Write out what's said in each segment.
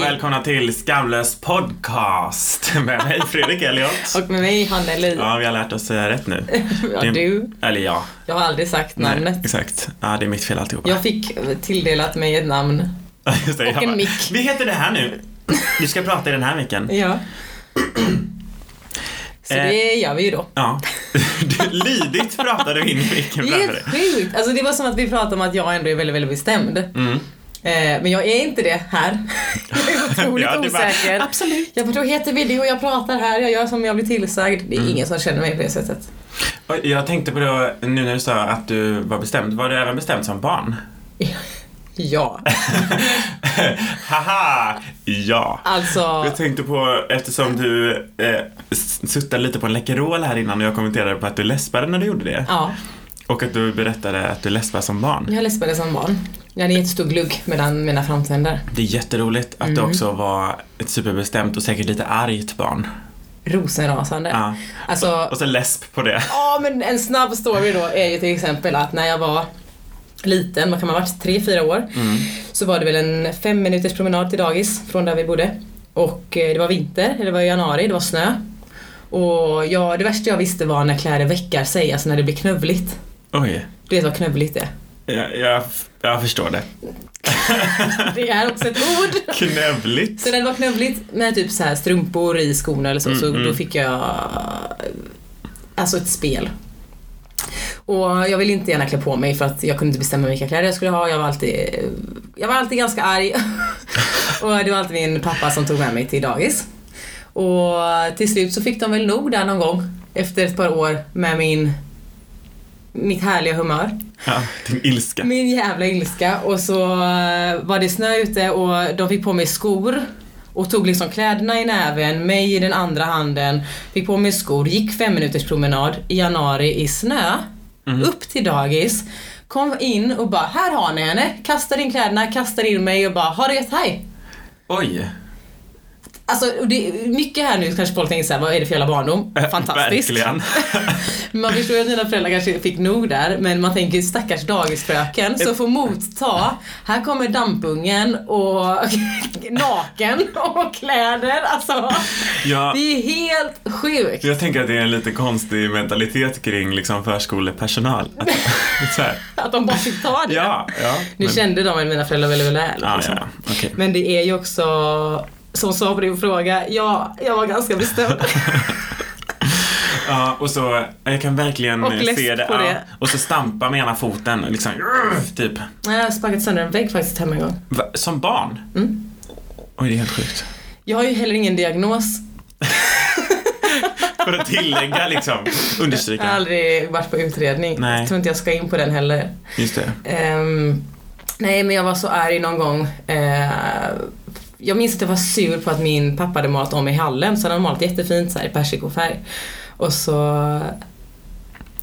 välkomna till Skamlös podcast med mig Fredrik Elliot. Och med mig, Hanna Li. Ja, vi har lärt oss säga rätt nu. Ja, Det- du. Eller ja. Jag har aldrig sagt namnet. Nej, exakt. Ja, det är mitt fel alltihopa. Jag fick tilldelat mig ett namn. Just det, jag och en bara, mick. Vi heter det här nu. Du ska prata i den här micken. Ja. Så Eh. det gör vi ju då. Ja. Du, lydigt pratade vi in i micken Det är framför helt dig. sjukt. Alltså det var som att vi pratade om att jag ändå är väldigt, väldigt bestämd. Mm. Eh, Men jag är inte det här. Jag är otroligt Ja, det var- osäker. Absolut. Jag bara, då heter vi det och jag pratar här, jag gör som jag blir tillsagd. Det är Mm. ingen som känner mig på det sättet. Och Jag tänkte på det nu när du sa att du var bestämd. Var du även bestämd som barn? Ja, Haha! Ja. alltså. Jag tänkte på, eftersom du eh, s- suttade lite på en Läkerol här innan och jag kommenterade på att du läspade när du gjorde det. Ja, Och att du berättade att du läspade som barn. jag läspade som barn. Jag hade jättestor glugg mellan mina framtänder. Det är jätteroligt att du också var ett superbestämt och säkert lite argt barn. Rosenrasande. Ja. Alltså, Och så läsp på det. Ja men en snabb story då är ju till exempel att när jag var liten, vad kan man ha varit, tre, fyra år. Mm. Så var det väl en fem minuters promenad till dagis från där vi bodde. Och eh, det var vinter, det var i januari, det var snö. Och jag, det värsta jag visste var när kläder veckar sig, alltså när det blir knövligt. Oj, Du vet vad knövligt är? jag, jag, jag förstår det. Det är också ett ord! Knövligt. Så när det var knövligt med typ så här strumpor i skorna eller så, så Mm, då mm. fick jag alltså ett spel. Och jag ville inte gärna klä på mig för att jag kunde inte bestämma vilka kläder jag skulle ha. Jag var alltid, jag var alltid ganska arg. och det var alltid min pappa som tog med mig till dagis. Och till slut så fick de väl nog där någon gång efter ett par år med min, mitt härliga humör. Ja, din ilska. Min jävla ilska och så eh, var det snö ute och de fick på mig skor och tog liksom kläderna i näven, mig i den andra handen, fick på mig skor, gick fem minuters promenad i januari i snö, upp till dagis, kom in och bara här har ni henne, kastar in kläderna, kastar in mig och bara ha det gött, hej! Oj. Alltså och det är mycket här nu kanske folk tänker såhär, vad är det för jävla barndom? Fantastiskt. Verkligen. Man förstår ju att mina föräldrar kanske fick nog där, men man tänker stackars dagisfröken som får motta, här kommer dampungen och naken och kläder. Alltså, Ja, det är helt sjukt. jag tänker att det är en lite konstig mentalitet kring liksom förskolepersonal. Att, så här, Att de bara fick ta det. ja, ja. Nu kände de mina föräldrar väldigt väl. ja, liksom. ja, okej. Men det är ju också, som svar på din fråga, ja, jag var ganska bestämd. Ja, och så, jag kan verkligen Och läsk se det. på ja. det. Och så stampa med ena foten, liksom, typ. Nej, Jag har sparkat sönder en vägg faktiskt hemma en gång. Va? Som barn? Mm. Oj, det är helt sjukt. Jag har ju heller ingen diagnos. För att tillägga liksom, Jag har understryka. aldrig varit på utredning. Nej. Jag tror inte jag ska in på den heller. Just det. Ehm, nej men jag var så arg någon gång. Eh, jag minns att jag var sur på att min pappa hade målat om i hallen så han hade malat jättefint så här, i persikofärg. Och så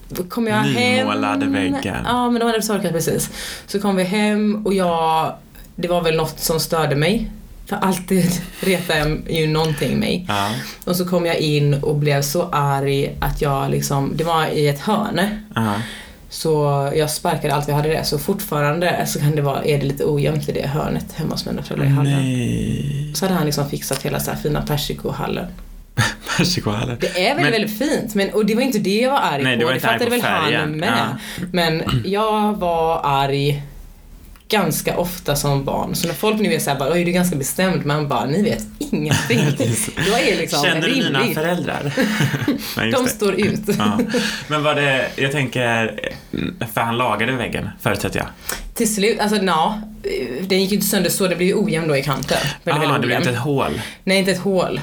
då kom jag hem. Nymålade väggar. Ja men de hade torkat precis. Så kom vi hem och jag, det var väl något som störde mig. För alltid retar ju någonting mig. Ja. Och så kom jag in och blev så arg att jag liksom, det var i ett hörn. Aha. Så jag sparkade allt jag hade där. Så fortfarande så kan det vara, är det lite ojämnt i det hörnet hemma hos mina föräldrar i hallen. Nej. Så hade han liksom fixat hela så här fina persikohallen. Persikohallen. Det är väldigt, Men- väldigt fint. Men, och det var inte det jag var arg Nej, på. du var det inte arg fattade på väl han färgen. med. Men jag var arg ganska ofta som barn. Så när folk nu är såhär bara, oj du är ganska bestämd. Man bara, ni vet ingenting. jag är liksom Känner du dina rimlig. föräldrar? Nej, just De det. står ut. Ja. Men var det, jag tänker, för han lagade väggen förutsätter jag. Till slut, alltså ja. Den gick ju inte sönder så, det blev ju ojämn då i kanten. Väldigt, ah, väldigt det blev ojämn. inte ett hål. Nej, inte ett hål.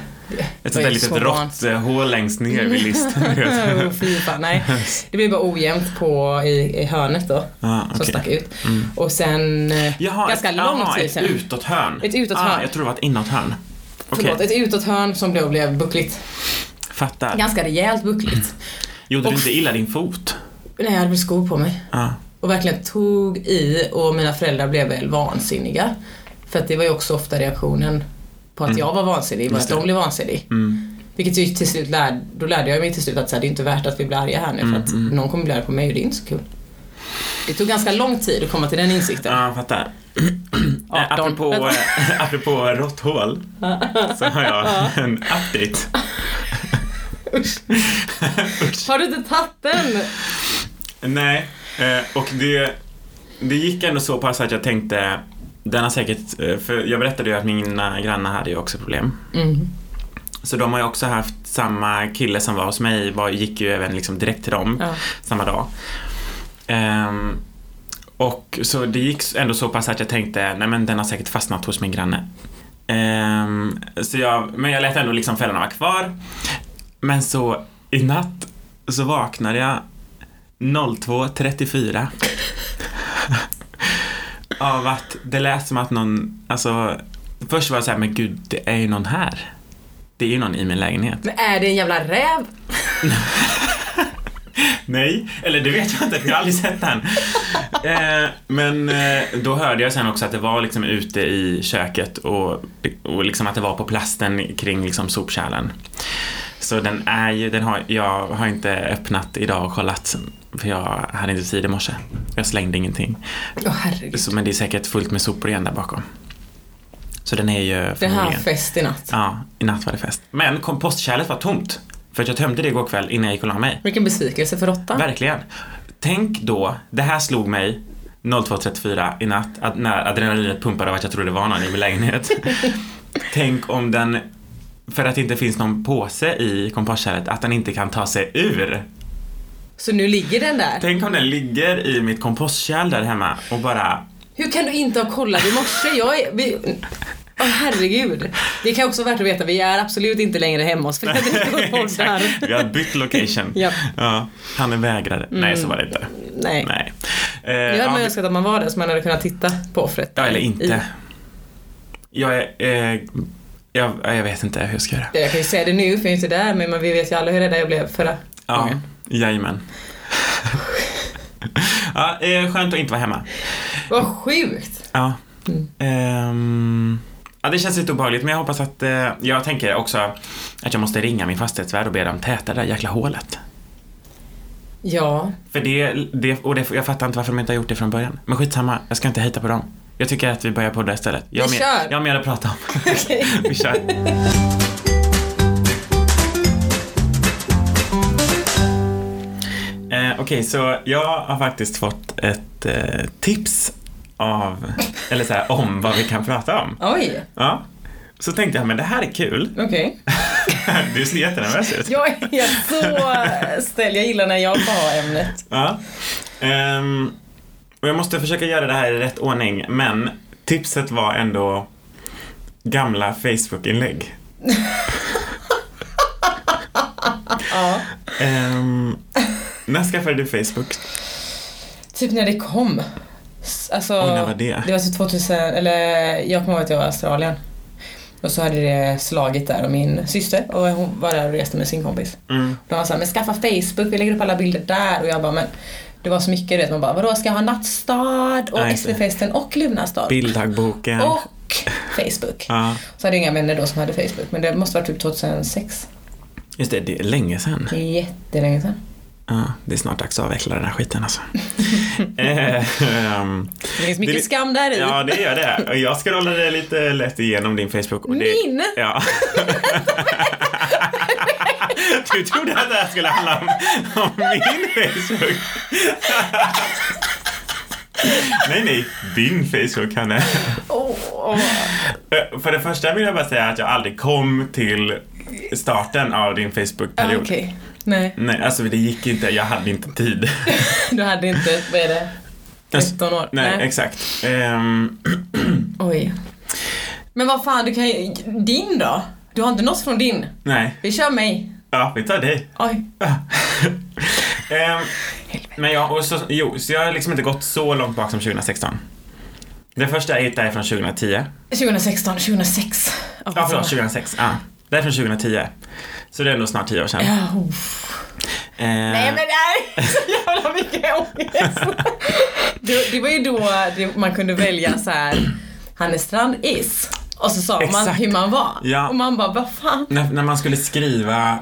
Ett sånt där litet rått eh, hål längst ner Mm. vid listen. du vet. Oh, fy fan, nej. Det blev bara ojämnt på, i, i hörnet då, Ah, som okej. Mm. stack ut. Och sen eh, Jaha, ganska ett, lång jaha, tid ett sen. utåthörn. Ett utåt ah, hörn. Jag tror det var ett inåthörn. Okej, Förlåt, ett utåthörn som då blev buckligt. fattar. Ganska rejält buckligt. Gjorde du Och- inte illa din fot? Nej, jag hade väl skor på mig. Ah. Och verkligen tog i och mina föräldrar blev väl vansinniga. För att det var ju också ofta reaktionen på att jag var vansinnig, var Mm. Just att det. de blev vansinniga. Mm. Vilket ju till slut lärde, då lärde jag mig till slut att så här, det är inte värt att vi blir arga här nu Mm, för att någon kommer bli arg på mig och det är inte så kul. Det tog ganska lång tid att komma till den insikten. Ja, jag fattar. Eh, 18. apropå, eh, apropå råtthål så har jag en update. Usch. Har du inte tagit den? Nej, eh, och det, det gick ändå så pass att jag tänkte, den har säkert, eh, för jag berättade ju att mina grannar hade ju också problem. Mm. Så de har ju också haft samma kille som var hos mig, var, gick ju även liksom direkt till dem Ja. samma dag. Ehm, och så det gick ändå så pass att jag tänkte, nej men den har säkert fastnat hos min granne. Ehm, så jag, men jag lät ändå liksom fällorna vara kvar. Men så i natt så vaknade jag 02.34 av att det lät som att någon, alltså först var jag såhär, men gud det är ju någon här. Det är ju någon i min lägenhet. Men är det en jävla räv? Nej, eller det vet jag inte, för jag har aldrig sett den. Eh, men eh, då hörde jag sen också att det var liksom ute i köket och, och liksom att det var på plasten kring liksom sopkärlen. Så den är ju, den har, jag har inte öppnat idag och kollat för jag hade inte tid i morse. Jag slängde ingenting. Åh herregud. Så, men det är säkert fullt med sopor igen där bakom. Så den är ju Det här förmodligen... fest i natt. Ja, i natt var det fest. Men kompostkärlet var tomt. För att jag tömde det igår kväll innan jag gick och la mig. Vilken besvikelse för råttan. Verkligen. Tänk då, det här slog mig 02.34 i natt att när adrenalinet pumpade av att jag trodde det var någon i min lägenhet. Tänk om den, för att det inte finns någon påse i kompostkärlet, att den inte kan ta sig ur. Så nu ligger den där. Tänk om den ligger i mitt kompostkärl där hemma och bara Hur kan du inte ha kollat i morse? Jag är... Vi... Åh herregud. Det kan också vara värt att veta, vi är absolut inte längre hemma hos Fredrik och poddar. Vi har bytt location. Japp. Ja, han vägrade. Nej, så var det inte. Mm. Nej. Nej. Eh, Jag hade ja, man önskat att man var där så man hade kunnat titta på offret. Ja, eller inte. I- Jag är... Eh, jag, jag vet inte hur jag ska göra. Jag kan ju säga det nu för jag är inte där men man- vi vet ju alla hur rädda jag blev förra Ja, gången. jajamän. ja, eh, skönt att inte vara hemma. Vad sjukt! Ja. Mm. Ehm, ja, det känns lite obehagligt men jag hoppas att, eh, jag tänker också att jag måste ringa min fastighetsvärd och be dem täta det där jäkla hålet. Ja, För det, det, och det, jag fattar inte varför de inte har gjort det från början. Men skitsamma, jag ska inte hejta på dem. Jag tycker att vi börjar podda istället. Jag har Vi mer- kör. Jag har mer att prata om. okej. vi kör. Eh, Okej, så jag har faktiskt fått ett eh, tips av, eller så här, om vad vi kan prata om. Oj, Ja. Så tänkte jag, men det här är kul. okej. Du ser jättenervös ut. Jag är så ställd, jag gillar när jag får ha ämnet. Ja. Ehm, och jag måste försöka göra det här i rätt ordning, men tipset var ändå gamla Facebook-inlägg. Ja. Ehm, när skaffade du Facebook? Typ när det kom. S- Alltså, Oj, när var det? Det var typ 2000, eller jag kommer ihåg att jag var i Australien. Och så hade det slagit där och min syster och hon var där och reste med sin kompis. Mm. De var såhär, men skaffa Facebook, vi lägger upp alla bilder där. Och jag bara, men det var så mycket du vet, man bara, vadå ska jag ha Nattstad Nej, och inte. SD-festen och Lunastad? Bilddagboken. Och Facebook. Ja, Så hade jag inga vänner då som hade Facebook, men det måste vara typ 2006. just det, det är länge sedan. Det är jättelänge sedan. Ja, det är snart dags att avveckla den här skiten alltså. Ehm, Det finns mycket Det- skam där i. ja, det gör det. Och jag scrollade lite lätt igenom din Facebook. Och det, Min? Ja. Du trodde att det här skulle handla om, om min Facebook. Nej, nej, din Facebook, Hanne. Åh. Eh, För det första vill jag bara säga att jag aldrig kom till starten av din Ah, Okej. Facebook-period. Nej, Nej, alltså det gick inte. Jag hade inte tid. du hade inte, vad är det, 13 år? Nej, exakt. Ehm, Oj. Men vad fan, du kan ju, din då? Du har inte något från din? nej, Vi kör mig. ja, vi tar dig. Oj. Ehm, men jag, och så, jo, så jag har liksom inte gått så långt bak som 2016. Den första jag hittade är från 2010. 2016, 2006. Ja, förlåt, 2006. Ja, det är från 2010. Så det är nog snart 10 år sedan. Ja, oh. Ehm, Nej men det här är så jävla mycket ångest. Det, det var ju då det, man kunde välja så här. Hannes Strand is. Och så sa man Exakt. hur man var. Ja. Och man bara, vad fan. när, när man skulle skriva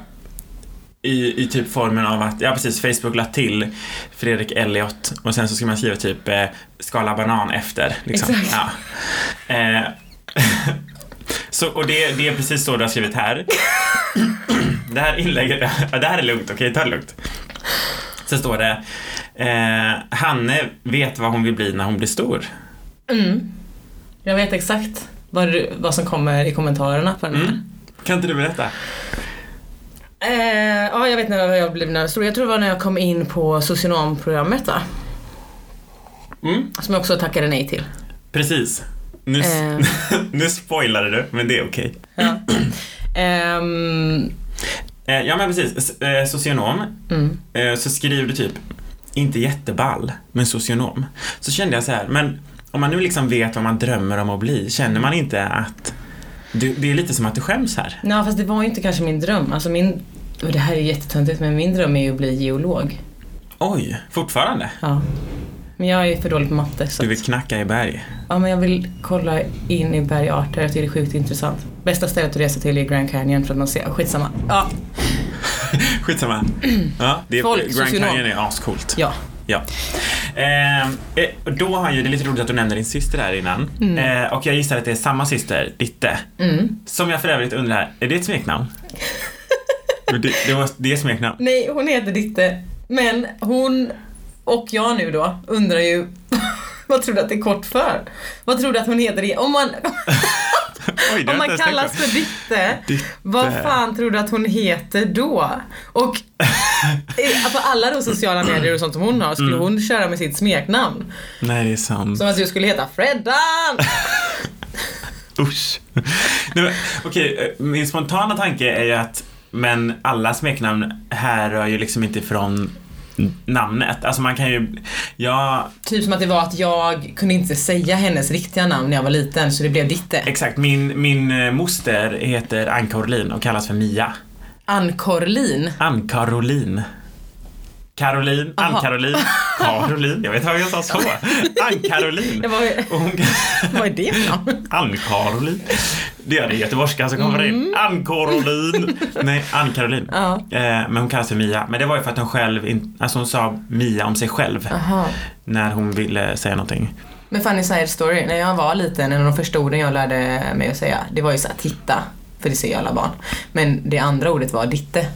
i, i typ formen av att, ja precis, Facebook la till Fredrik Elliot och sen så skulle man skriva typ eh, skala banan efter. Liksom. Exakt. Ja. Eh, så, och det, det är precis så du har skrivit här. Det här inlägget, ja, det här är lugnt, okej ta det lugnt. Så står det, eh, Hanne vet vad hon vill bli när hon blir stor. Mm. Jag vet exakt vad, du, vad som kommer i kommentarerna på den här. Mm. Kan inte du berätta? Eh, ja, jag vet när jag blev när jag var stor. Jag tror det var när jag kom in på socionomprogrammet va? Mm. Som jag också tackade nej till. Precis. Nu, s- Eh. nu spoilade du, men det är okej. Ja. Ehm, Eh, ja men precis, S- eh, socionom. mm. Eh, så skriver du typ, inte jätteball, men socionom. Så kände jag så här, men om man nu liksom vet vad man drömmer om att bli, känner man inte att det, det är lite som att du skäms här. Nej, fast det var ju inte kanske min dröm. Alltså min, och det här är jättetöntigt men min dröm är ju att bli geolog. Oj, fortfarande? Ja. Men jag är för dålig på matte så Du att- vill knacka i berg. Ja men jag vill kolla in i bergarter, jag tycker det är sjukt intressant. Bästa stället att resa till är Grand Canyon för att man ser, skitsamma. Ja, Skitsamma. Ja, det är, Folk, Grand socionom. Canyon är ascoolt. ja. Ja. Eh, eh, och då har ju, det är lite roligt att du nämnde din syster här innan. Eh, och jag gissar att det är samma syster, Ditte. Mm. Som jag för övrigt undrar, är det ett smeknamn? det, det, var, det är smeknamn. Nej, hon heter Ditte. Men hon och jag nu då undrar ju vad tror du att det är kort för? Vad tror du att hon heter? i- Om man, Oj, det har om jag man inte ens tänkt kallas på. för Ditte, Ditte. vad fan tror du att hon heter då? Och eh, på alla de sociala medier och sånt som hon har skulle Mm. hon köra med sitt smeknamn. Nej, det är sant. Som att du skulle heta Freddan! Usch. Nej, men, Okej, eh, min spontana tanke är ju att men alla smeknamn härrör ju liksom inte från namnet. Alltså man kan ju, ja Typ som att det var att jag kunde inte säga hennes riktiga namn när jag var liten så det blev Ditte. exakt, min, min eh, moster heter Ann-Caroline och kallas för Mia. Ann-Corlin. Ann-Caroline. Caroline, Aha. Ann-Caroline, Caroline, jag vet inte varför jag sa så. Ann-Caroline. Det var, Och hon vad är det för namn? Ann-Caroline. Det är det göteborgska som kommer in. Ann-Caroline. Nej, Ann-Caroline. Mm. Ja. Eh, Men hon kallas för Mia. Men det var ju för att hon själv, in- alltså hon sa Mia om sig själv Aha. när hon ville säga någonting. Men funny side story, när jag var liten, en av de första orden jag lärde mig att säga, det var ju såhär titta, för det ser ju alla barn. Men det andra ordet var ditte.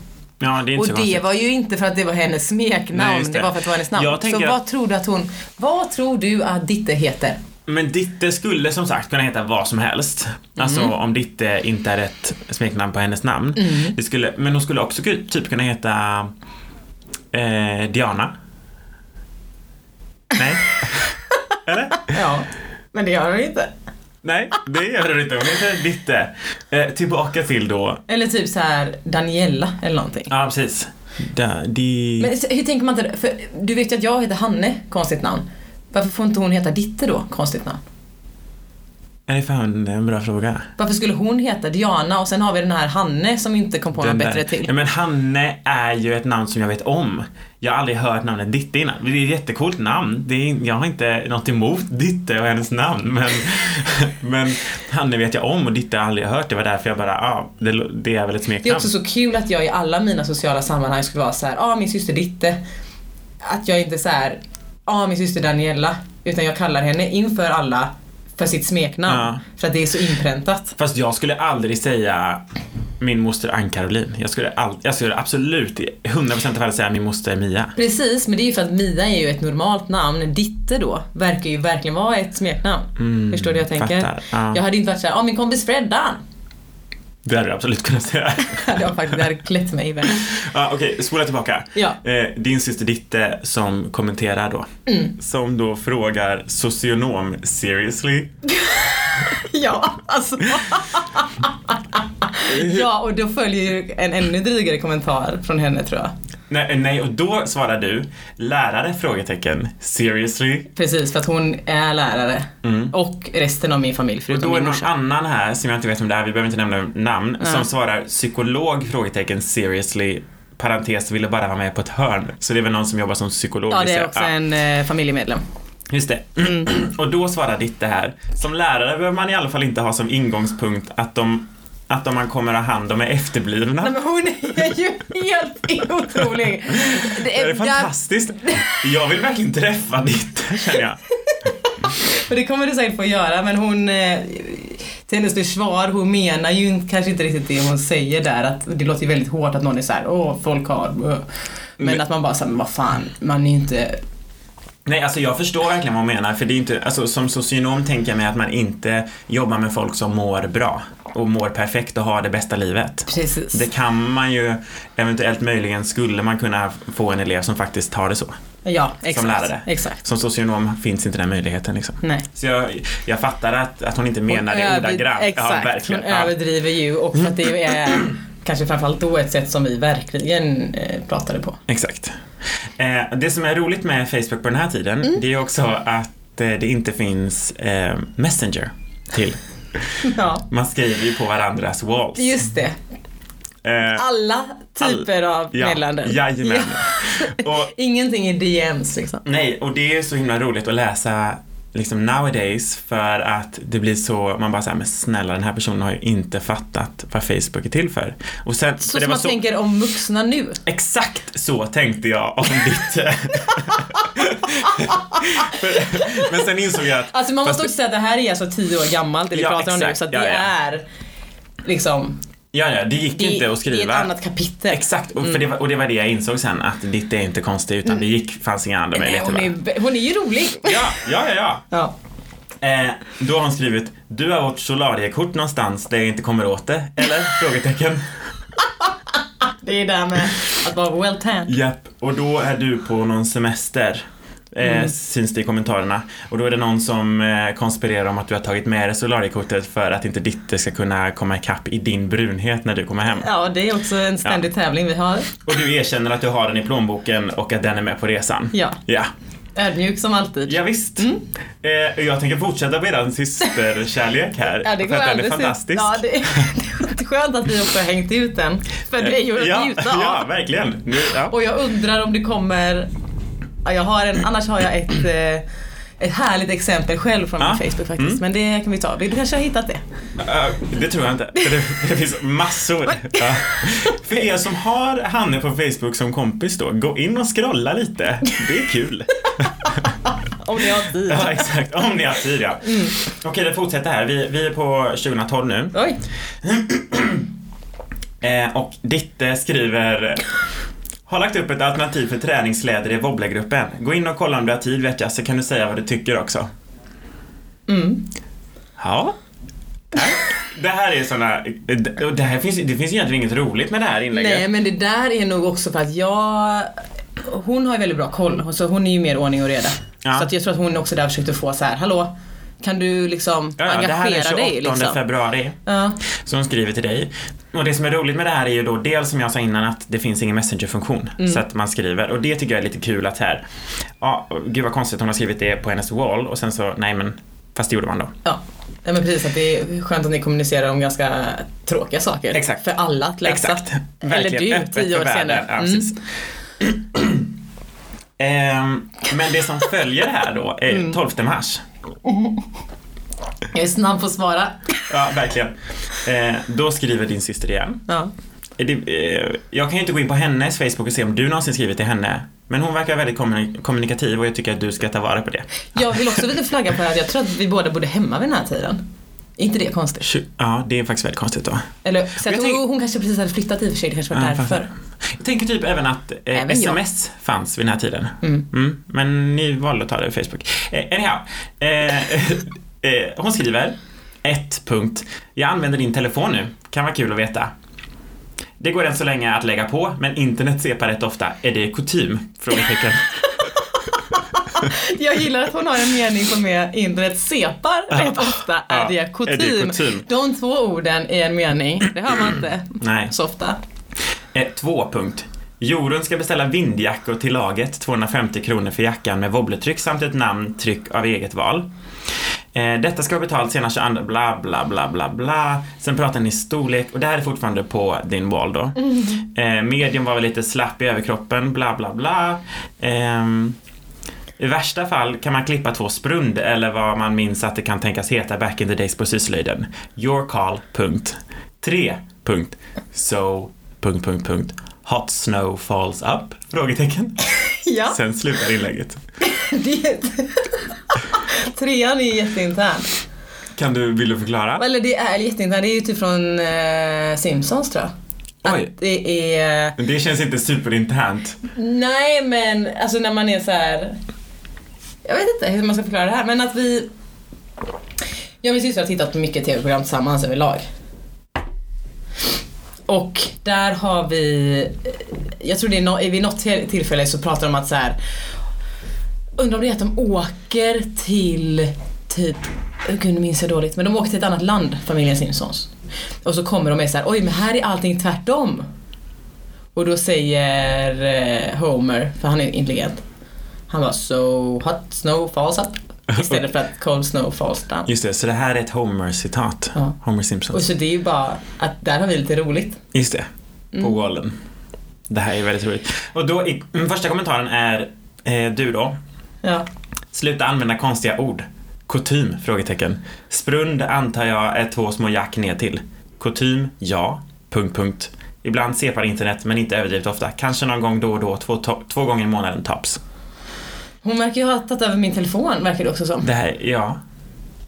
Ja, det är inte Och så det konstigt. var ju inte för att det var hennes smeknamn, Nej, det. just det. var för att det var hennes namn. Jag Så tänker vad tror du att hon, vad tror du att ditte heter? Men Ditte skulle som sagt kunna heta vad som helst. Alltså om Ditte inte är ett smeknamn på hennes namn. Det skulle, men hon skulle också ku- typ kunna heta eh, Diana. Nej. Eller? Ja, men det gör hon ju inte. Nej, det gör du inte. Hon heter Ditte. Eh, tillbaka till då. Eller typ så här Daniela eller någonting. Ja, precis. Da, di... Men så- hur tänker man inte, för du vet ju att jag heter Hanne, konstigt namn. Varför får inte hon heta Ditte då, konstigt namn? Är det fan en bra fråga? Varför skulle hon heta Diana och sen har vi den här Hanne som inte kom på något Den där. bättre till. Ja, men Hanne är ju ett namn som jag vet om. Jag har aldrig hört namnet Ditte innan. Det är ett jättecoolt namn. Det är, jag har inte något emot Ditte och hennes namn. Men, men Hanne vet jag om och Ditte har jag aldrig hört. Det var därför jag bara, ja, ah, det, lo- det är väl ett Det är smeknamn. också så kul att jag i alla mina sociala sammanhang skulle vara så här, ja ah, min syster Ditte. Att jag inte så här, ja ah, min syster Daniela. Utan jag kallar henne inför alla för sitt smeknamn. Ja. För att det är så inpräntat. Fast jag skulle aldrig säga min moster Ann-Caroline. Jag skulle, all, jag skulle absolut i 100% av fallet säga min moster Mia. Precis, men det är ju för att Mia är ju ett normalt namn. Ditte då verkar ju verkligen vara ett smeknamn. Förstår du hur jag tänker? Mm, fattar. Ja. Jag hade inte varit såhär, ja ah, min kompis Freddan. Det hade du absolut kunnat säga. Hade jag faktiskt, det hade klätt mig i världen. Ja, Ah, Okej, spola tillbaka. Ja. Eh, din syster Ditte som kommenterar då. Mm. Som då frågar socionom seriously. Ja, alltså. ja, och då följer ju en ännu drygare kommentar från henne tror jag. Nej, eh, nej, och då svarar du lärare? frågetecken Seriously? Precis, för att hon är lärare. Och resten av min familj, Mm. Och förutom då är min det någon morsa. annan här som jag inte vet om det är, vi behöver inte nämna namn, som svarar psykolog? frågetecken Seriously? Parentes, ville bara vara med på ett hörn. Så det är väl någon som jobbar som psykolog? Ja, det gissar är jag. Ah. också Ja. en eh, familjemedlem. Just det. Mm. Och då svarar Ditte här. Som lärare behöver man i alla fall inte ha som ingångspunkt att de, att de man kommer att ha hand om är efterblivna. Nej, men hon är ju helt otrolig. det är eh, där- fantastiskt. Jag vill verkligen träffa Ditte, känner jag. Och det kommer du säkert få göra men hon, eh, till hennes försvar, hon menar ju inte- kanske inte riktigt det hon säger där. Att det låter ju väldigt hårt att någon är så här: åh folk har... äh." Men, Men- att man bara såhär, men vad fan, man är ju inte... Nej, alltså jag förstår verkligen vad hon menar. För det är inte, alltså, som socionom tänker jag mig att man inte jobbar med folk som mår bra och mår perfekt och har det bästa livet. Precis. Det kan man ju, eventuellt möjligen skulle man kunna få en elev som faktiskt har det så. ja, exakt. lärare. Exakt. Som socionom finns inte den möjligheten liksom. Nej. Så jag, jag fattar att, att hon inte Hon menar det över- ordagrant. Exakt, ja, hon verkligen. Ja. överdriver ju och för att det är kanske framförallt då ett sätt som vi verkligen eh, pratade på. Exakt. Eh, det som är roligt med Facebook på den här tiden, Mm. det är också att eh, det inte finns eh, Messenger till. Ja, Man skriver ju på varandras walls. just det. Eh, Alla typer av ja, meddelanden. Jajamän. Och, Ingenting är DMs liksom. nej, och det är så himla roligt att läsa liksom nowadays för att det blir så, man bara säger men snälla den här personen har ju inte fattat vad Facebook är till för. Och sen, Så för det som var man tänker om vuxna nu. Exakt så tänkte jag om ditt... För- men sen insåg jag att Alltså man Fast måste också säga att det här är alltså tio år gammalt det vi Ja, pratar om nu exakt. så att Ja, det ja. är liksom, ja, ja, det gick det, inte att det är ett skriva. annat Mm. kapitel. Exakt, och, för det var, och det var det jag insåg sen att ditt är inte konstigt utan det gick, fanns inga andra Mm. Nej, möjligheter. hon, är, va? be- hon är ju rolig. Ja, ja, ja. ja. Ja. Eh, då har hon skrivit Du har vårt solariekort någonstans där jag inte kommer åt det, eller? Frågetecken. Det är det där med att vara well tan. Japp, och då är du på någon semester. Eh, Mm. Syns det i kommentarerna. Och då är det någon som eh, konspirerar om att du har tagit med dig solariekortet för att inte ditt ska kunna komma ikapp i din brunhet när du kommer hem. Ja, det är också en ständig tävling vi har. Och du erkänner att du har den i plånboken och att den är med på resan. Ja, Mm. Ja, ödmjuk som alltid. ja visst. Eh, och jag tänker fortsätta med eran systerkärlek här. Ja, det går för att den alldeles ut. är fantastisk. Ja, det, det är skönt att vi också har hängt ut den. För det är ju att ja, njuta av. ja, verkligen. Nu, ja. Och jag undrar om det kommer... Ja, jag har en, annars har jag ett, eh, ett härligt exempel själv från Ja. Mm. min Facebook faktiskt. Men det kan vi ta. Du kanske har hittat det? Ja, Eh, det tror jag inte. För Det, det finns massor. Ja. För er som har Hanne på Facebook som kompis då, gå in och scrolla lite. Det är kul. Om ni har tid. Ja, exakt. Mm. Om ni har tid ja. Okej, det fortsätter här. Vi, vi är på 2012 nu. Oj. Eh, och Ditte skriver har lagt upp ett alternativ för träningsläder i wobblegruppen. Gå in och kolla om du har tid vet jag, så kan du säga vad du tycker också. Mm. Ja. Tack. Det här är såna, och det, här finns, det finns egentligen inget roligt med det här inlägget. Nej, men det där är nog också för att jag... Hon har ju väldigt bra koll, så hon är ju mer ordning och reda. Ja. Så att jag tror att hon också där försökte få så här, hallå, kan du liksom Ja, ja, det här är engagera 28 dig? Liksom? februari Ja. som hon skriver till dig. Och det som är roligt med det här är ju då dels som jag sa innan att det finns ingen messenger-funktion Mm. så att man skriver och det tycker jag är lite kul att här, ja, gud vad konstigt hon har skrivit det på hennes wall och sen så, nej men, fast det gjorde man då. Ja. Nej men precis, att det är skönt att ni kommunicerar om ganska tråkiga saker. Exakt. För alla att läsa. Exakt. Eller Verkligen du, öppet tio för år världen. senare. Ja, Mm. precis. Ehm, men det som följer här då är Mm. 12 mars. Jag är snabb på att svara. Ja, verkligen. Eh, då skriver din syster igen. Ja. Är Det, eh, jag kan ju inte gå in på hennes Facebook och se om du någonsin skrivit till henne. Men hon verkar väldigt kommuni- kommunikativ och jag tycker att du ska ta vara på det. Jag vill också lite flagga för att jag tror att vi båda bodde hemma vid den här tiden. Är inte det konstigt? Tju- Ja, det är faktiskt väldigt konstigt då. Eller så Jag att tänk- hon, hon kanske precis hade flyttat i och för sig, det kanske var Ja, därför. fattar. Jag tänker typ även att eh, Även jag. sms fanns vid den här tiden. Mm. men ni valde att ta det ur Facebook. Eh, anyhow, eh, eh, hon skriver 1. punkt. Jag använder din telefon nu. Kan vara kul att veta. Det går än så länge att lägga på, men internet separ rätt ofta. Är det kutym? Frågetecken. Jag gillar att hon har en mening som är internet separ rätt ofta. Ja, Är är det det kutym? kutym? De två orden i en mening, det hör man inte Nej. så ofta. Eh, Två punkt. Jorun ska beställa vindjackor till laget, 250 kronor för jackan med wobbletryck samt ett namn, tryck av eget val. Eh, Detta ska ha betalt senast 22, bla bla bla bla bla. Sen pratar ni storlek och det här är fortfarande på din wall då. Eh, Medium var väl lite slapp i överkroppen, bla bla bla. Ehm, I värsta fall kan man klippa två sprund eller vad man minns att det kan tänkas heta back in the days på syslöjden. Your call, punkt. 3. Punkt. So, punkt, punkt, punkt. Hot snow falls up? Frågetecken. Ja, Sen slutar inlägget. det, Trean är ju jätteintern. Kan du, vill du förklara? Eller det är jätteintern, det är ju typ från eh, Simpsons tror jag. Oj. Att det är... Men Det känns inte superinternt. Nej men alltså när man är så här. Jag vet inte hur man ska förklara det här men att vi Jag och min syster har tittat på mycket tv-program tillsammans överlag. Och där har vi Jag tror det är no, vid något till- tillfälle så pratar de om att så här. Undrar om det är att de åker till typ Gud nu minns jag dåligt men de åker till ett annat land familjen Simpsons. Och så kommer de med så här, oj men här är allting tvärtom. Och då säger eh, Homer, för han är intelligent, han var so hot snow falls up istället för att cold snow falls down. Just det, så det här är ett Homer-citat. Ja. Homer Simpson. Och så det är ju bara att där har vi lite roligt. Just det, på Mm. wallen. Det här är väldigt roligt. Och då, i, mm, första kommentaren är eh, du då. Ja. Sluta använda konstiga ord. Kutym? Frågetecken. Sprund antar jag är två små jack ner till. Kutym? Ja. Punkt, punkt. Ibland separ internet, men inte överdrivet ofta. Kanske någon gång då och då, två, to- två gånger i månaden tops. Hon verkar ju ha tagit över min telefon verkar det också som. Det här, ja.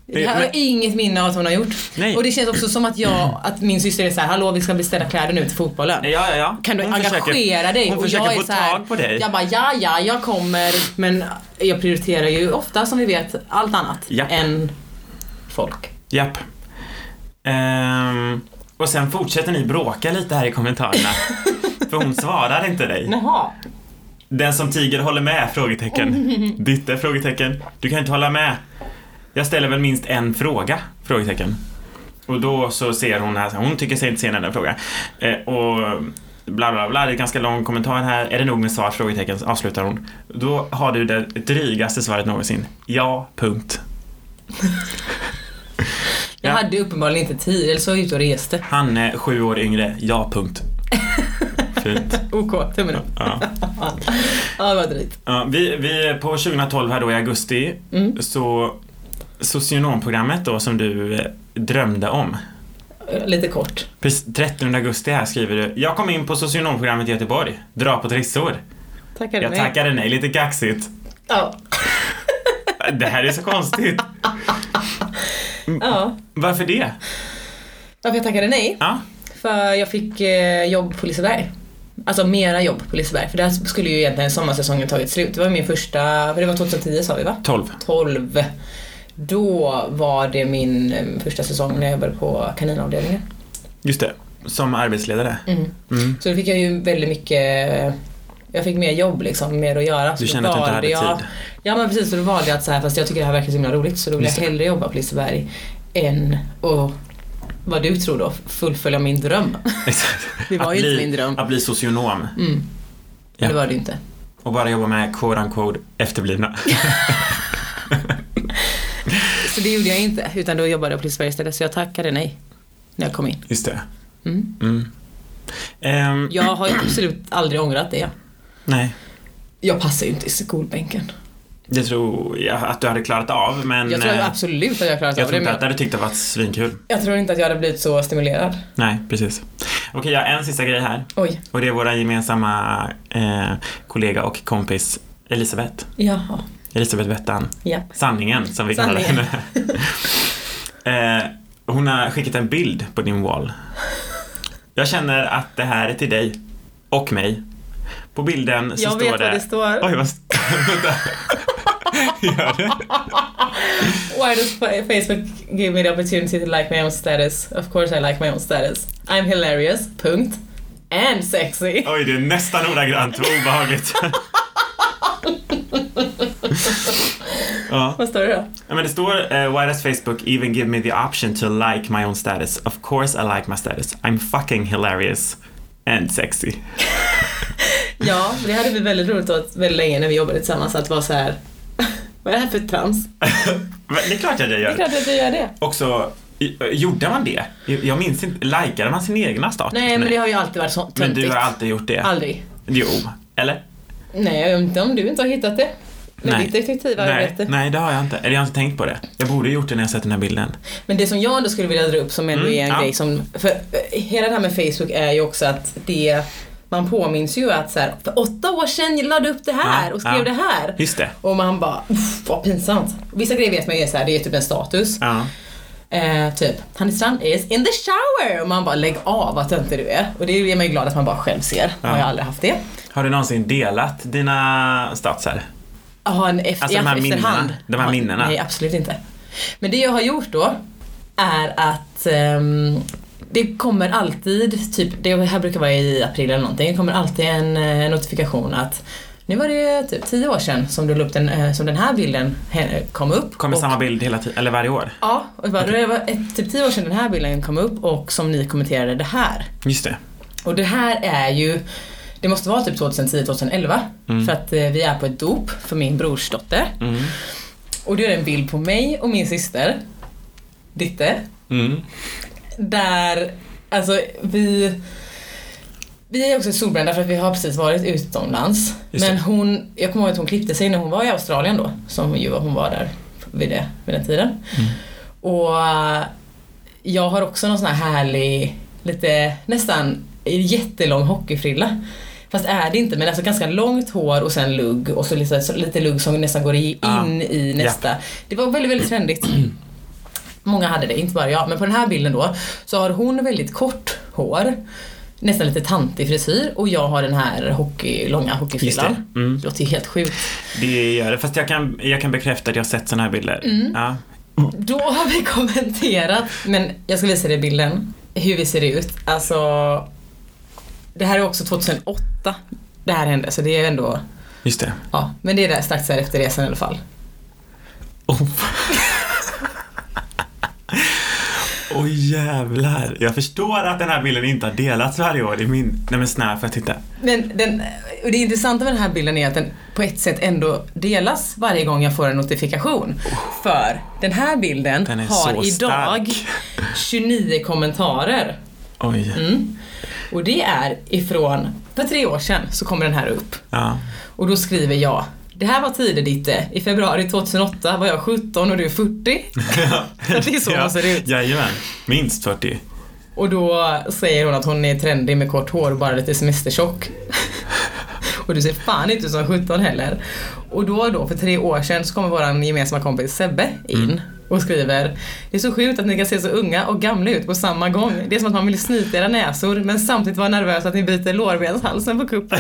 Det här har jag inget minne av att hon har gjort. Nej. Och det känns också som att jag, att min syster är så här, hallå vi ska beställa kläder nu till fotbollen. Ja, ja, ja. Kan du Hon engagera försöker- dig? Hon Och försöker jag är få så här, tag på dig. Jag bara, ja, ja, jag kommer. Men jag prioriterar ju ofta som vi vet allt annat Ja. än folk. Japp. Ehm, och sen fortsätter ni bråka lite här i kommentarerna. för hon svarar inte dig. Jaha. Den som tiger håller med? Frågetecken. Ditte? Frågetecken. Du kan inte hålla med. Jag ställer väl minst en fråga? Frågetecken. Och då så ser hon här, hon tycker sig inte se en enda fråga. Eh, och bla bla bla, det är en ganska lång kommentar här. Är det nog med svar? Frågetecken. Avslutar hon. Då har du det drygaste svaret någonsin. Ja, punkt. Jag Ja. hade uppenbarligen inte tid, eller så var jag ute och reste. Han är sju år yngre, ja punkt. Fint. OK, tummen upp. Ja. Ja, det var drygt. Mm. Ja, vi, vi, på 2012 här då i augusti, så socionomprogrammet då som du eh, drömde om. Eh, Lite kort. Precis, 13 augusti här skriver du, jag kom in på socionomprogrammet i Göteborg, dra på trissor. Tackar Jag tackade nej, lite kaxigt. Ja. Det här är så konstigt. ja. Varför det? Varför jag tackade nej? Ja, För jag fick eh, jobb på Liseberg. Alltså mera jobb på Liseberg. För där skulle ju egentligen sommarsäsongen tagit slut. Det var min första, för det var 2010 sa vi va? 12. 12. Då var det min eh, första säsong när jag jobbade på kaninavdelningen. Just det, som arbetsledare. Mm. Så då fick jag ju väldigt mycket jag fick mer jobb liksom, mer att göra. Så Du då kände att du inte valde hade jag, tid. Ja men precis, så då valde jag att så här, fast jag tycker det här verkar så himla roligt så då vill jag Just det. hellre jobba på Liseberg än och vad du tror då, fullfölja min dröm. Exakt. Det var Att ju inte bli- min dröm. Att bli socionom. Mm. Ja. Men Det var det ju inte. Och bara jobba med quote unquote efterblivna. Så det gjorde jag inte, utan då jobbade jag på Liseberg istället. Så jag tackade nej när jag kom in. Just det. Mm. Mm. Ehm, Jag har ju absolut aldrig ångrat det. Nej, Jag passar ju inte i skolbänken. det tror jag att du hade klarat av men Jag tror eh, absolut att jag klarat jag av Alltså, det. tror inte Men att du hade tyckt det var svinkul. jag tror inte att jag hade blivit så stimulerad. Nej, precis. Okej, jag har en sista grej här Oj, och det är vår gemensamma eh, kollega och kompis Elisabeth. jaha. Elisabeth Vettan. Ja. Sanningen som vi kallar Sanningen. henne. eh, hon har skickat en bild på din wall. Jag känner att det här är till dig och mig. På bilden så Jag står vet det... vad det står. Oj, vad... Vänta. Gör det? Why does fa- Facebook give me the opportunity to like my own status? Of course I like my own status. I'm hilarious, punkt. And sexy. Oj, det är nästan ordagrant. Vad obehagligt. ja. Vad står det då? Ja, Men det står eh, “Why does Facebook even give me the option to like my own status? Of course I like my status. I'm fucking hilarious and sexy.” Ja, det hade vi väldigt roligt åt väldigt länge när vi jobbade tillsammans att vara så här. Vad är det här för trams? Men det är klart att jag Det är gör. klart att jag gör det. Också, i- eh, gjorde man det? Jag jag minns inte. Likade man sin egna status? Nej, men det har ju alltid varit så Men töntigt. du har alltid gjort det? Aldrig. Jo. Eller? Nej, jag vet inte om du inte har hittat det. Med Nej. ditt detektiva Nej, arbete. nej, det har jag inte. Eller jag har inte tänkt på det. Jag borde ha gjort det när jag sett den här bilden. Men det som jag ändå skulle vilja dra upp som ändå Mm, är en ja. grej som, för eh, hela det här med Facebook är ju också att det man påminns ju att så här, för åtta år sedan la du upp det här Ja, och skrev ja. det här. Just det. Och man bara, uff, vad pinsamt. Vissa grejer vet man ju är så här, det är typ en status. Ja. Eh, typ, Hannes Strand is in the shower! Och man bara, lägg av vad töntig du är. Och det är man ju glad att man bara själv ser. Man har ju aldrig haft det. Har du någonsin delat dina statsar? Jaha, en efter, Alltså, de här efterhand. minnena, de här Ja, minnena. Nej, absolut inte. Men det jag har gjort då är att ehm, det kommer alltid, typ, det här brukar vara i april eller någonting, det kommer alltid en eh, notifikation att nu var det typ tio år sedan som du la upp den, eh, som den här bilden eh, kom upp. Kommer Och- samma bild hela tiden, eller varje år? Ja, och det var, det var ett, typ tio år sedan den här bilden kom upp och som ni kommenterade det här. Just det. Och det här är ju, det måste vara typ 2010-2011 för att eh, vi är på ett dop för min brors dotter. Mm. Och du är det en bild på mig och min syster, Ditte, Mm. där alltså vi vi är också solbrända för att vi har precis varit utomlands. Just men det. hon, jag kommer ihåg att hon klippte sig när hon var i Australien då, som ju hon var där vid, det, vid den tiden. Mm. Och eh, jag har också någon sån här härlig, lite nästan jättelång hockeyfrilla. Fast är det inte, men alltså ganska långt hår och sen lugg och så lite, så lite lugg som nästan går i, in Ah, i nästa. Det var väldigt, väldigt trendigt. Många hade det, inte bara jag. Men på den här bilden då så har hon väldigt kort hår. Nästan lite tantig frisyr och jag har den här hockey, långa Just hockeyfrillan. det. Mm. Det låter ju helt sjukt. Det gör det. Fast jag kan, jag kan bekräfta att jag har sett såna här bilder. Mm. Ja. Då har vi kommenterat, men jag ska visa dig bilden, hur vi ser ut. Alltså, det här är också 2008 det här hände, så det är ändå, Just det. ja, men det är där strax där efter resan i alla fall. Oh. Åh jävlar. Jag förstår att den här bilden inte har delats varje år i min... Nej men snälla får jag titta? Men den, och det intressanta med den här bilden är att den på ett sätt ändå delas varje gång jag får en notifikation. För den här bilden Oh. Den är har så idag stark. 29 kommentarer. Oj. Mm. Och det är ifrån, för tre år sedan så kommer den här upp. Ja. Och då skriver jag det här var tider Ditte. I februari 2008 var jag 17 och du 40. det är så man ser ut. Jajamän. Minst 40. Och då säger hon att hon är trendig med kort hår och bara lite semestertjock. och du ser fan inte ut som 17 heller. Och då då, för tre år sedan, så kommer vår gemensamma kompis Sebbe in och skriver Det är så sjukt att ni kan se så unga och gamla ut på samma gång. Det är som att man vill snyta era näsor men samtidigt vara nervös att ni bryter lårbenshalsen på kuppen.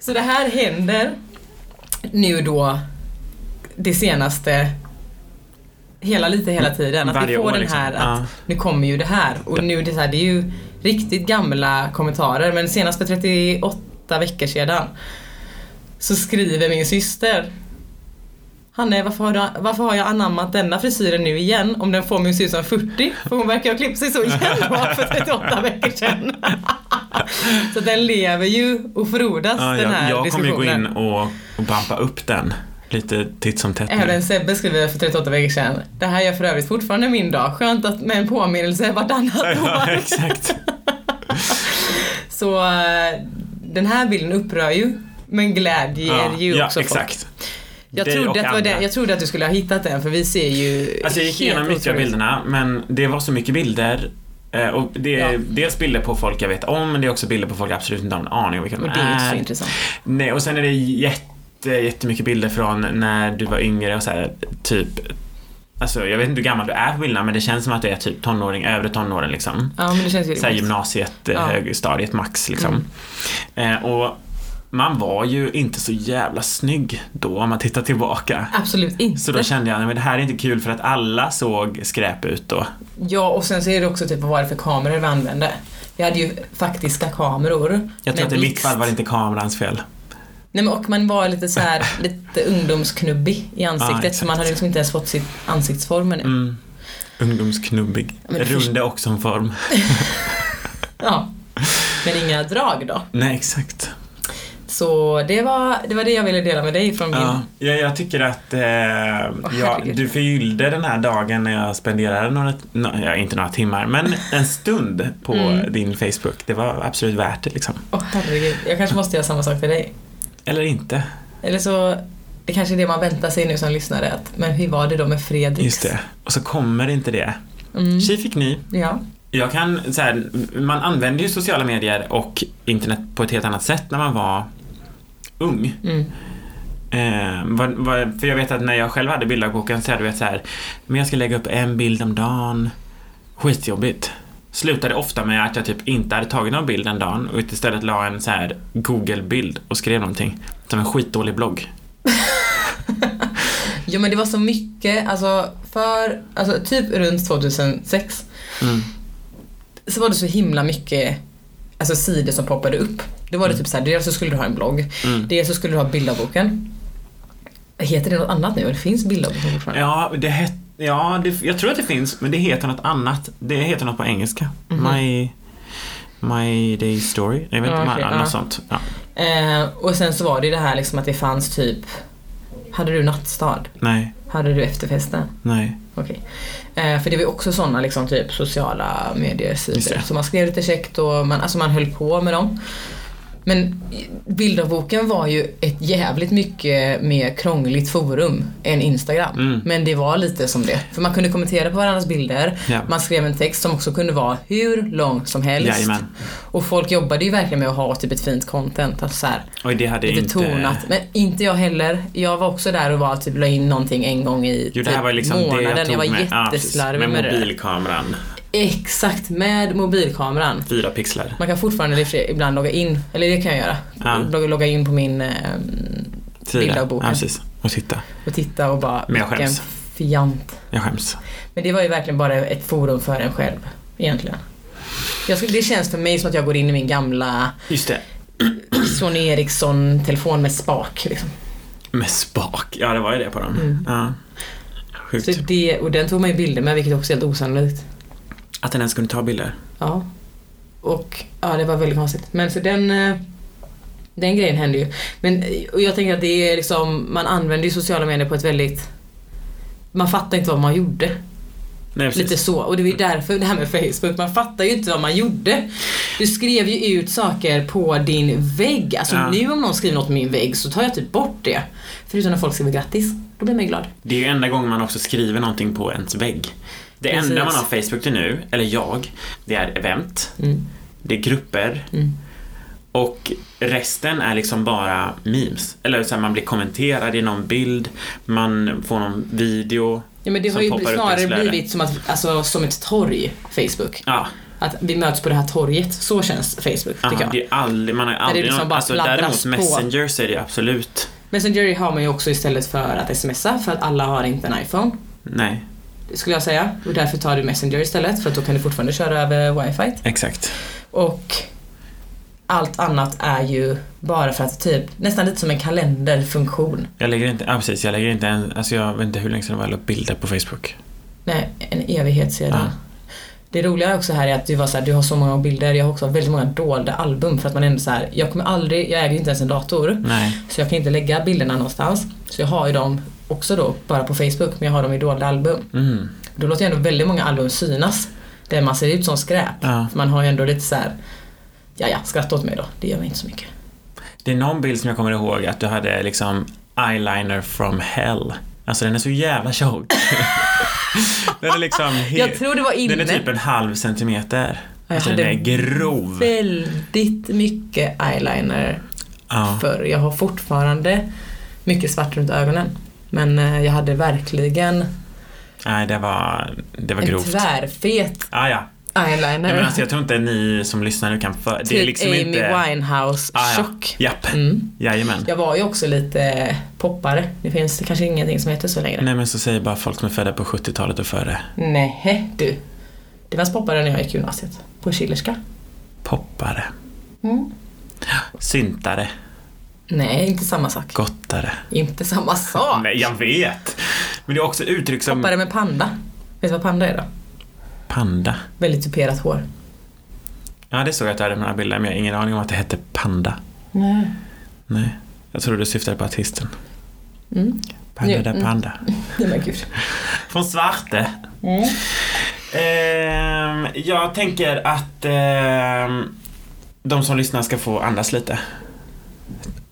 så det här händer nu då det senaste Hela lite hela tiden. Att Varje vi får år, den liksom. här att Ja. nu kommer ju det här och nu är det så här, det är ju riktigt gamla kommentarer men senast för 38 veckor sedan så skriver min syster Hanne, varför har, du, varför har jag anammat denna frisyren nu igen om den får mig att se ut som 40? För hon verkar ha klippt sig så igen då för 38 veckor sedan. så den lever ju och frodas Ah, Ja, den här jag jag kommer ju diskussionen. gå in och, och bampa upp den lite titt som tätt nu. Även Sebbe skriver för 38 veckor sedan. Det här gör för övrigt fortfarande min dag. Skönt att med en påminnelse vartannat Ja, år. exakt. Så eh, den här bilden upprör ju, men glädjer ju ja, också folk. exakt. Jag Dig trodde, och att det var andra. den, jag trodde att du skulle ha hittat den för vi ser ju Alltså jag helt gick igenom mycket av otroligt. bilderna men det var så mycket bilder eh, och det är Ja. dels bilder på folk jag vet om men det är också bilder på folk jag absolut inte har en aning om vilka de Och det är ju inte så är. intressant. Nej och sen är det jätte, jättemycket bilder från när du var yngre och så här, typ Alltså jag vet inte hur gammal du är på bilderna men det känns som att du är typ tonåring, övre tonåren liksom. Ja men det känns ju Så här rimligt. gymnasiet, eh, Ja. Mm. högstadiet max liksom. Eh, och man var ju inte så jävla snygg då om man tittar tillbaka. Absolut inte. Så då kände jag, nej men det här är inte kul för att alla såg skräp ut då. Ja och sen så är det också typ vad var det för kameror vi använde. Vi hade ju faktiska kameror. Jag tror med att i mitt blixt. fall var det inte kamerans fel. Nej men och man var lite så här lite ungdomsknubbig i ansiktet så exakt. man hade liksom inte ens fått sitt ansiktsform ännu. Mm. Ungdomsknubbig. men det först- Runde och som form. Ja. Men inga drag då. Nej, exakt. Så det var, det var det jag ville dela med dig från min... Ja, ja, jag tycker att eh, ja, herregud. du förgyllde den här dagen när jag spenderade några, nå, ja, inte några timmar, men en stund på Mm. din Facebook. Det var absolut värt det liksom. Åh herregud, jag kanske måste göra samma sak för dig. Eller inte. Eller så, det kanske är det man väntar sig nu som lyssnare, att men hur var det då med Fredriks? Just det. Och så kommer inte det. Mm. Tji fick ni. Ja. Jag kan så här, man använde ju sociala medier och internet på ett helt annat sätt när man var ung. Mm. Eh, vad, vad, för jag vet att när jag själv hade bilddagboken så hade jag så här, men jag ska lägga upp en bild om dagen. Skitjobbigt. Slutade ofta med att jag typ inte hade tagit någon bild den dagen och istället la en så här Google-bild och skrev någonting. Som en skitdålig blogg. Jo men det var så mycket, alltså för, alltså typ runt 2006 Mm. så var det så himla mycket alltså, sidor som poppade upp. Då var det typ så här, dels så skulle du ha en blogg, Mm. dels så skulle du ha bilddagboken. Heter det något annat nu? Det finns bilddagboken fortfarande? Ja, det het, ja det, jag tror att det finns, men det heter något annat. Det heter något på engelska. My, my day story. Jag Mhm. vet Ja, inte, okej, något ja. sånt. Ja. Eh, och sen så var det ju det här liksom att det fanns typ, hade du nattstad? Nej, Hade du efterfesten? nej. Okej. Eh, för det var ju också sådana liksom, typ sociala Just medier-sidor. det. Så man skrev lite käckt och man, alltså man höll på med dem. Men bilddagboken var ju ett jävligt mycket mer krångligt forum än Instagram. Mm. Men det var lite som det. För man kunde kommentera på varandras bilder. Ja. Man skrev en text som också kunde vara hur lång som helst. Jajamän. Och folk jobbade ju verkligen med att ha typ ett fint content. Alltså så här, Oj, det hade lite inte... tonat. Men inte jag heller. Jag var också där och var typ la in någonting en gång i Jo, det här typ var ju liksom månaden. det jag tog jag var med, ja, precis. jätteslarvig med, med det. där. mobilkameran. Exakt, med mobilkameran. Fyra pixlar. Man kan fortfarande i och för sig ibland logga in, eller det kan jag göra. Ja. Logga, logga in på min eh, Fyra. Ja, Bilddagboken. precis. Och titta. och titta och bara Men jag vilken skäms. fjant. Jag skäms. Men det var ju verkligen bara ett forum för en själv egentligen. Jag skulle, det känns för mig som att jag går in i min gamla Just det. Sony Ericsson-telefon med spak. Liksom. Med spak. Ja, det var ju det på dem. Mm. Ja. Så Sjukt. det, och den tog man ju bilder med vilket också är helt osannolikt. Att den ens kunde ta bilder. Ja. Och ja, det var väldigt konstigt. Men så den, eh, den grejen hände ju. Men eh, och jag tänker att det är liksom, man använder ju sociala medier på ett väldigt man fattar inte vad man gjorde. Nej, precis. Mm. Lite så. Och det är därför det här med Facebook, man fattar ju inte vad man gjorde. Du skrev ju ut saker på din vägg. Alltså Ja. nu om någon skriver något på min vägg så tar jag typ bort det. Förutom när folk skriver grattis. Då blir man ju glad. Det är ju enda gången man också skriver någonting på ens vägg. Det Precis. enda man har Facebook till nu, eller jag, det är event, Mm. det är grupper Mm. och resten är liksom bara memes. Eller så här, man blir kommenterad i någon bild, man får någon video. Ja, men det Som har ju poppar upp i snarare flödet. blivit som, att, alltså, som ett torg, Facebook. Ja, Att vi möts på det här torget, så känns Facebook aha, tycker jag. det är aldrig, man har ju aldrig liksom någon, bara alltså, pladdras däremot på. Messenger så är det ju absolut, Messenger har man ju också istället för att smsa för att alla har inte en iPhone. nej, Skulle jag säga. Och därför tar du Messenger istället för att då kan du fortfarande köra över wifi. exakt. Och allt annat är ju bara för att typ nästan lite som en kalenderfunktion. Jag lägger inte, ja precis, jag lägger inte en, alltså jag vet inte hur länge sedan det var jag la upp bilder på Facebook. Nej, en evighet sedan. Ja. Det roliga också här är att du var så här, du har så många bilder, jag har också väldigt många dolda album för att man ändå så här, jag kommer aldrig, jag äger ju inte ens en dator. Nej, Så jag kan inte lägga bilderna någonstans. Så jag har ju dem också då bara på Facebook men jag har dem i dolda album. mm, Då låter jag ändå väldigt många album synas där man ser ut som skräp. ja. För man har ju ändå lite så här. ja ja, skratta åt mig då, det gör mig inte så mycket. Det är någon bild som jag kommer ihåg att du hade liksom eyeliner from hell. Alltså den är så jävla tjock. den är liksom Jag helt... tror det var Den är inne. typ en halv centimeter. jag Alltså den hade är grov. Väldigt mycket eyeliner Ja. förr. Jag har fortfarande mycket svart runt ögonen. Men eh, jag hade verkligen Nej, det var, det var en grovt. Ja, tvärfet ah, ja. eyeliner. Nej, men alltså, jag tror inte ni som lyssnar nu kan för... det är typ liksom Amy inte... Ah, ja. Winehouse-tjock. Japp, Mm. jajamän. Jag var ju också lite eh, poppare. Det finns kanske ingenting som heter så längre. Nej men så säger bara folk som är födda på 70-talet och före. Nej, du. Det fanns poppare när jag gick gymnasiet. På Schillerska. Poppare. Mm. Syntare. Nej, inte samma sak. Gottare. Inte samma sak. Nej, jag vet. Men det är också uttryck som Poppare med panda. Vet du vad panda är då? panda. Väldigt tuperat hår. Ja, det såg jag att du hade på några bilder, men jag har ingen aning om att det hette Panda. Nej. Nej, jag tror du syftade på artisten. Mm. Panda Nu- da mm. Panda. Nej men gud. Från Svarte. Mm. Ehm, jag tänker att ehm, de som lyssnar ska få andas lite.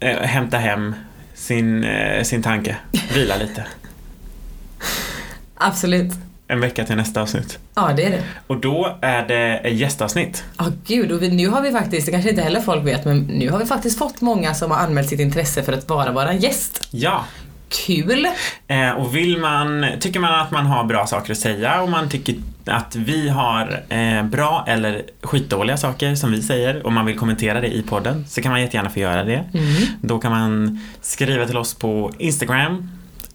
Eh, hämta hem sin, eh, sin tanke. Vila lite. Absolut. en vecka till nästa avsnitt. Ja, det är det. Och då är det ett gästavsnitt. Ja, gud. Och vi, nu har vi faktiskt, det kanske inte heller folk vet, men nu har vi faktiskt fått många som har anmält sitt intresse för att bara vara en gäst. Ja. Kul! Eh, och vill man, tycker man att man har bra saker att säga och man tycker att vi har eh, bra eller skitdåliga saker som vi säger och man vill kommentera det i podden så kan man jättegärna få göra det. Mm. Då kan man skriva till oss på Instagram.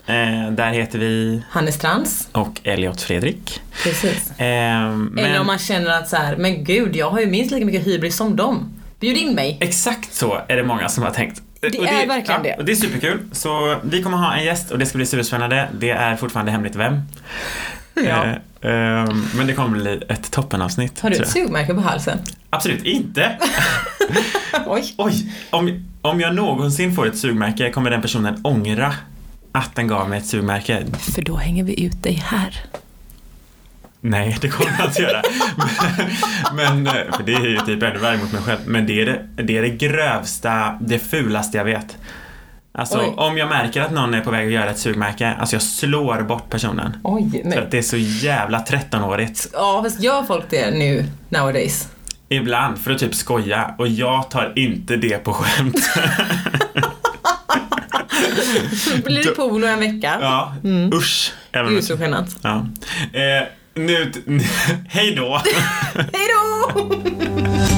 Eh, där heter vi Hannes Trans. och Elliot Fredrik. Precis. Eh, Eller om men man känner att så här, men gud, jag har ju minst lika mycket hybris som dem. Bjud in mig! exakt så är det många som har tänkt. Det är verkligen det. Och det är superkul. Så vi kommer ha en gäst och det ska bli superspännande. Det är fortfarande hemligt vem. Ja. Eh, ehm, men det kommer bli ett toppenavsnitt. Har du tror ett jag. sugmärke på halsen? Absolut inte! Oj. Oj! Om, om jag någonsin får ett sugmärke kommer den personen ångra att den gav mig ett sugmärke. För då hänger vi ut dig här. Nej, det kommer jag inte göra. Men, men, eh, för det är ju typ ännu värre mot mig själv. Men det är det, det är det grövsta, det fulaste jag vet. Alltså Oj. om jag märker att någon är på väg att göra ett sugmärke, alltså jag slår bort personen. Oj, För att men. det är så jävla 13-årigt. Ja, fast gör folk det nu nowadays? Ibland för att typ skoja och jag tar inte det på skämt. Blir det polo en vecka? Ja, usch. Även om- Gud så genant. Ja. Eh, nu, t- hej då! Hej då!